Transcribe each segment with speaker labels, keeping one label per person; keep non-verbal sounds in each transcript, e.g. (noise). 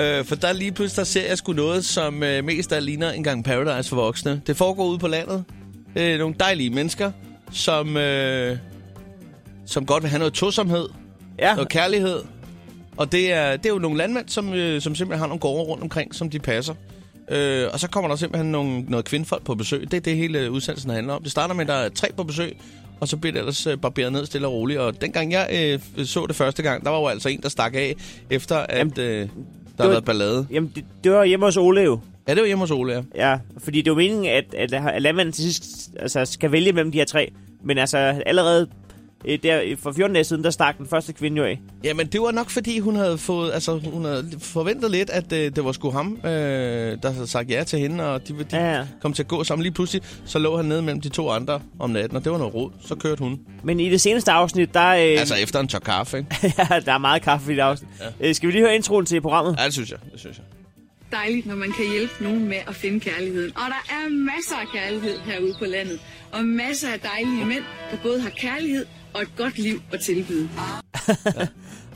Speaker 1: Øh, for der lige pludselig der ser jeg sgu noget, som øh, mest der ligner en gang Paradise for voksne. Det foregår ude på landet. Øh, nogle dejlige mennesker, som, øh, som godt vil have noget tosomhed,
Speaker 2: Ja,
Speaker 1: (laughs) noget kærlighed. Og det er, det er jo nogle landmænd, som, øh, som simpelthen har nogle gårde rundt omkring, som de passer. Øh, og så kommer der simpelthen nogle, noget kvindfolk på besøg. Det er det, hele øh, udsendelsen handler om. Det starter med, at der er tre på besøg, og så bliver det ellers øh, barberet ned stille og roligt. Og dengang jeg øh, så det første gang, der var jo altså en, der stak af, efter at
Speaker 2: Jamen,
Speaker 1: øh, der
Speaker 2: var-
Speaker 1: havde været ballade.
Speaker 2: jamen det, det var hjemme hos Ole jo.
Speaker 1: Ja, det var hjemme hos Ole, ja.
Speaker 2: Ja, fordi det er jo meningen, at, at, at landmanden til sidst altså, skal vælge mellem de her tre. Men altså allerede øh, der, for 14 dage siden, der stak den første kvinde jo af.
Speaker 1: Jamen, det var nok, fordi hun havde, fået, altså, hun havde forventet lidt, at øh, det var sgu ham, øh, der havde sagt ja til hende, og de, de
Speaker 2: Ja, ja.
Speaker 1: kom til at gå sammen. Lige pludselig, så lå han nede mellem de to andre om natten, og det var noget rod. Så kørte hun.
Speaker 2: Men i det seneste afsnit, der, øh,
Speaker 1: Altså, efter en tør kaffe, ikke?
Speaker 2: (laughs) ja, der er meget kaffe i det afsnit. Ja. Øh, skal vi lige høre introen til programmet?
Speaker 1: Ja, det synes jeg. Det synes jeg.
Speaker 3: dejligt, når man kan hjælpe nogen med at finde kærligheden. Og der er masser af kærlighed herude på landet. Og masser af dejlige mænd, der både har kærlighed og et godt liv at tilbyde.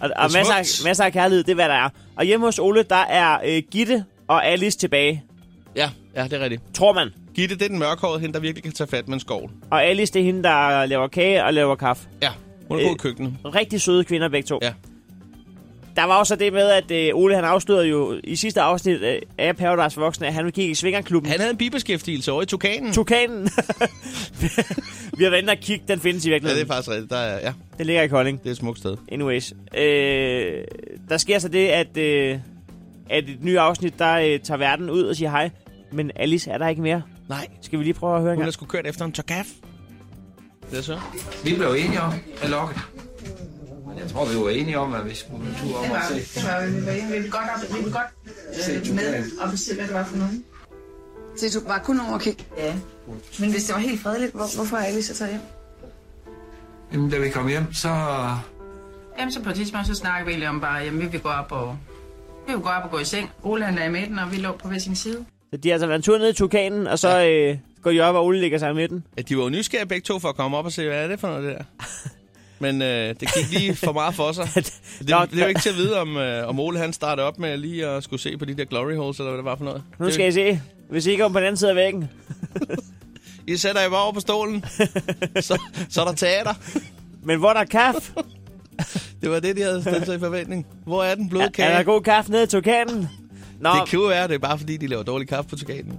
Speaker 2: Og, og masser, af,
Speaker 1: smukt.
Speaker 2: masser af kærlighed, det er hvad der er. Og hjemme hos Ole, der er øh, Gitte og Alice tilbage,
Speaker 1: Ja, ja, det er rigtigt.
Speaker 2: tror man.
Speaker 1: Gitte, det er den mørkhårede hende, der virkelig kan tage fat med en skov.
Speaker 2: Og Alice, det er hende, der laver kage og laver kaffe.
Speaker 1: Ja, hun er god
Speaker 2: Øh.
Speaker 1: i køkkenet.
Speaker 2: Rigtig søde kvinder begge to.
Speaker 1: Ja.
Speaker 2: Der var også det med, at øh, Ole han afslørede jo i sidste afsnit øh, af Paradise for Voksne, at han ville kigge i Svingerklubben.
Speaker 1: Han havde en bibeskæftigelse over i Tukanen.
Speaker 2: Tukanen. (laughs) Vi har været inde og kigge, den findes i
Speaker 1: Ja, det er
Speaker 2: virkeligheden.
Speaker 1: faktisk rigtigt. Der er, ja,
Speaker 2: den ligger i Kolding.
Speaker 1: det er et smukt sted.
Speaker 2: Anyways. Øh, der sker så det, at, øh, at et nyt afsnit, der øh, tager verden ud og siger hej. Men Alice er der ikke mere.
Speaker 1: Nej,
Speaker 2: Skal vi lige prøve at høre en
Speaker 1: hun er
Speaker 2: gang?
Speaker 1: sgu kørt efter en tør kaffe. Det er så.
Speaker 4: Vi blev enige om at lokke. Men jeg tror, vi var enige om, at vi skulle en tur om
Speaker 5: Det
Speaker 4: og
Speaker 5: var,
Speaker 4: se.
Speaker 5: det var, vi var enige, vi ville godt, op, vi ville godt øh, med og bestille, hvad det var for nogen.
Speaker 3: Så du bare kun over og kigge.
Speaker 5: Ja. Men hvis det var helt fredeligt, hvor, hvorfor er Alice så taget hjem?
Speaker 4: Jamen, da vi kom hjem, så...
Speaker 6: Jamen, så på et tidspunkt, så snakker vi egentlig om bare, jamen, vi vil gå op og... Vi vil gå op og gå i seng. Ole han lagde i midten, og vi lå på hver sin side.
Speaker 2: Så de har altså været en tur ned i Tukanen, og så øh, går de op, og Ole ligger sig i midten.
Speaker 1: Ja, de var jo nysgerrige begge to for at komme op og se, hvad er det for noget, (laughs) det der? Men øh, det gik lige for meget for sig. (laughs) Det,
Speaker 2: Nå,
Speaker 1: det er jo ikke til at vide, om, øh, om Ole han startede op med lige at skulle se på de der glory holes, eller hvad det var for noget.
Speaker 2: Nu
Speaker 1: Det-
Speaker 2: skal I se, hvis I ikke kommer på den anden side af væggen.
Speaker 1: I sætter jer bare over på
Speaker 2: (laughs)
Speaker 1: stolen, så, så er der teater.
Speaker 2: Men hvor er der
Speaker 1: (laughs)
Speaker 2: kaffe?
Speaker 1: Det var det, de havde stillet sig i forventning. Hvor er den bløde
Speaker 2: Okay.
Speaker 1: kage?
Speaker 2: Er der god kaffe nede i Tukanen? Nå,
Speaker 1: Det kunne være, det er bare fordi, de laver dårlig kaffe på tukanen.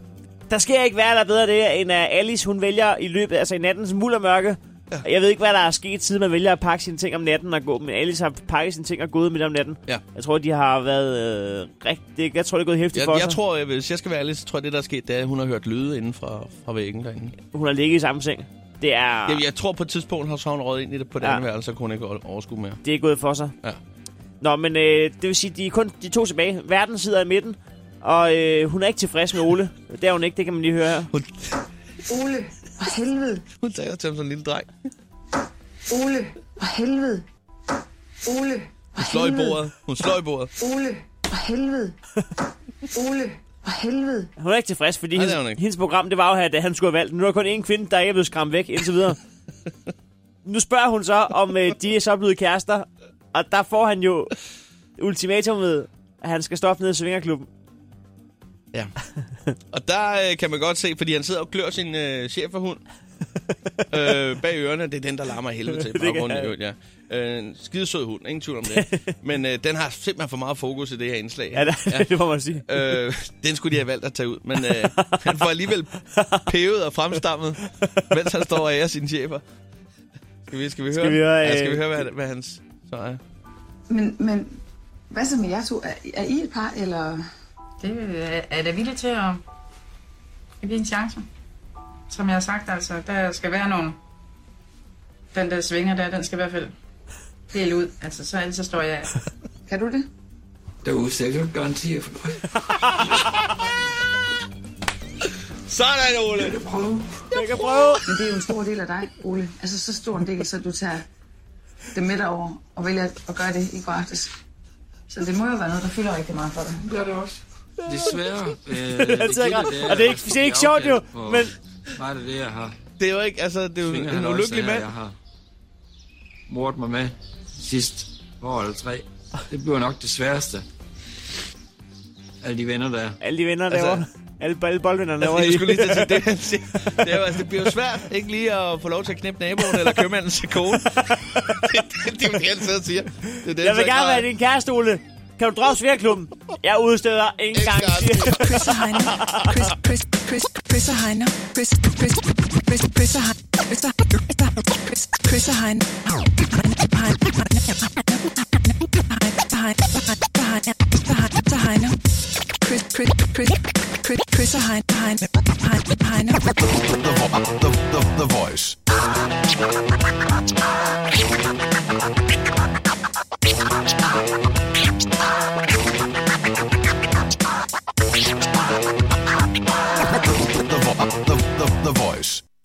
Speaker 2: der sker ikke værre eller bedre det, end at Alice hun vælger i løbet, altså i nattens muldermørke. Ja. Jeg ved ikke, hvad der er sket, siden man vælger at pakke sine ting om natten og gå, men Alice har pakket sine ting og gået midt om natten.
Speaker 1: Ja.
Speaker 2: Jeg tror, de har været øh, rigtig... Jeg tror, det er gået hæftigt
Speaker 1: Jeg,
Speaker 2: for
Speaker 1: jeg
Speaker 2: sig.
Speaker 1: tror, jeg, hvis jeg skal være ærlig, så tror jeg, det der er sket, det er, at hun har hørt lyde inden fra, fra væggen derinde.
Speaker 2: Hun har ligget i samme seng. Det er,
Speaker 1: Jeg, jeg tror på et tidspunkt, har så hun røget ind i det på det
Speaker 2: Ah. Ja.
Speaker 1: ja. andet værelse, og kunne hun ikke o- overskue mere.
Speaker 2: det er gået for sig.
Speaker 1: Ja.
Speaker 2: Nå, men øh, det vil sige, de er kun de to tilbage. Verden sidder i midten, og øh, hun er ikke tilfreds med Ole. Det er hun ikke, det kan man lige høre her.
Speaker 1: Hun,
Speaker 5: Ole, for helvede.
Speaker 1: hun tager til ham som en lille dreng.
Speaker 5: Ole, for helvede. Ole,
Speaker 1: Hun slår i bordet. Hun slår i bordet.
Speaker 5: Ole, for (laughs) helvede. Ole, for helvede.
Speaker 2: Hun er ikke tilfreds, fordi
Speaker 1: Nej, det er hun
Speaker 2: hendes,
Speaker 1: ikke.
Speaker 2: hendes program, det var jo her, at han skulle have valgt. Nu er der kun én kvinde, der ikke er blevet skræmt væk, indtil videre. nu spørger hun så, om øh, de er så blevet kærester. Og der får han jo ultimatumet, at han skal stoppe ned i Svingerklubben.
Speaker 1: Ja. Og der øh, kan man godt se, fordi han sidder og klør sin øh, cheferhund
Speaker 2: (laughs)
Speaker 1: øh, bag ørerne. Det er den, der larmer af helvede
Speaker 2: (laughs)
Speaker 1: til i
Speaker 2: Det kan
Speaker 1: baggrunden. i
Speaker 2: jeg.
Speaker 1: øvrigt, ja. øh, en skidesød hund, ingen tvivl om
Speaker 2: (laughs)
Speaker 1: det. Men øh, den har simpelthen for meget fokus i det her indslag.
Speaker 2: Ja, der, ja. (laughs) det må man sige.
Speaker 1: Øh, den skulle de have valgt at tage ud, men øh, han får alligevel pevet og fremstammet, mens han står og ærer sine chefer. Skal vi, skal vi høre,
Speaker 2: Skal vi høre,
Speaker 1: ja, skal
Speaker 2: øh,
Speaker 1: vi høre hvad, hvad hans så er?
Speaker 5: Men, men hvad så med jer to? Er, er I et par, eller...
Speaker 6: Det øh, er da villig til at give en chance. Som jeg har sagt, altså, der skal være nogen. Den der svinger der, den skal i hvert fald dele ud. Altså, så ellers så står jeg af.
Speaker 5: (laughs) Kan du det?
Speaker 4: Der var sikkert garantier for noget.
Speaker 1: Sådan, Ole!
Speaker 4: Jeg prøvede.
Speaker 2: Jeg kan prøve.
Speaker 5: Men det er jo en stor del af dig, Ole. Altså så stor en del, så du tager det med dig over og vælger at gøre det i går aftes. Så det må jo være noget, der fylder rigtig meget for dig.
Speaker 4: Det er det også. (laughs) Desværre. Øh,
Speaker 2: Han sidder og græder. Og det er ikke, det er ikke sjovt jo, men
Speaker 4: Var det det, jeg har?
Speaker 1: Det er jo ikke, altså, det er jo
Speaker 4: Svinger
Speaker 1: en
Speaker 4: han også
Speaker 1: ulykkelig
Speaker 4: af,
Speaker 1: mand.
Speaker 4: Jeg har mordt mig med sidst år eller tre. Det bliver nok det sværeste. Alle de venner, der er.
Speaker 2: Alle de venner
Speaker 1: Altså-
Speaker 2: derovre. Alle, alle boldvinderne
Speaker 1: Altså,
Speaker 2: derovre.
Speaker 1: jeg skulle lige til at sige det. han siger. (laughs) Det, er jo, altså, det bliver jo svært ikke lige at få lov til at knippe naboen eller købmandens kone. (laughs) det, det, det, er jo det, han sidder og siger. Det er det,
Speaker 2: Jeg
Speaker 1: han
Speaker 2: vil
Speaker 1: så
Speaker 2: gerne
Speaker 1: ikke
Speaker 2: være din kæreste, Ole. Kan du drage sværklumpen? Jeg udsteder ingen gang.
Speaker 7: Chris og Heino. Chris, Chris, Chris, Chris og Heino. Chris, Chris, Chris, Chris og Heino. Chris og- Chris, Chris og Heino. Chris, Chris, Chris, Chris, Chris og Heino. Heino, Heino, Heino.
Speaker 8: The, vo- the, the, the Voice.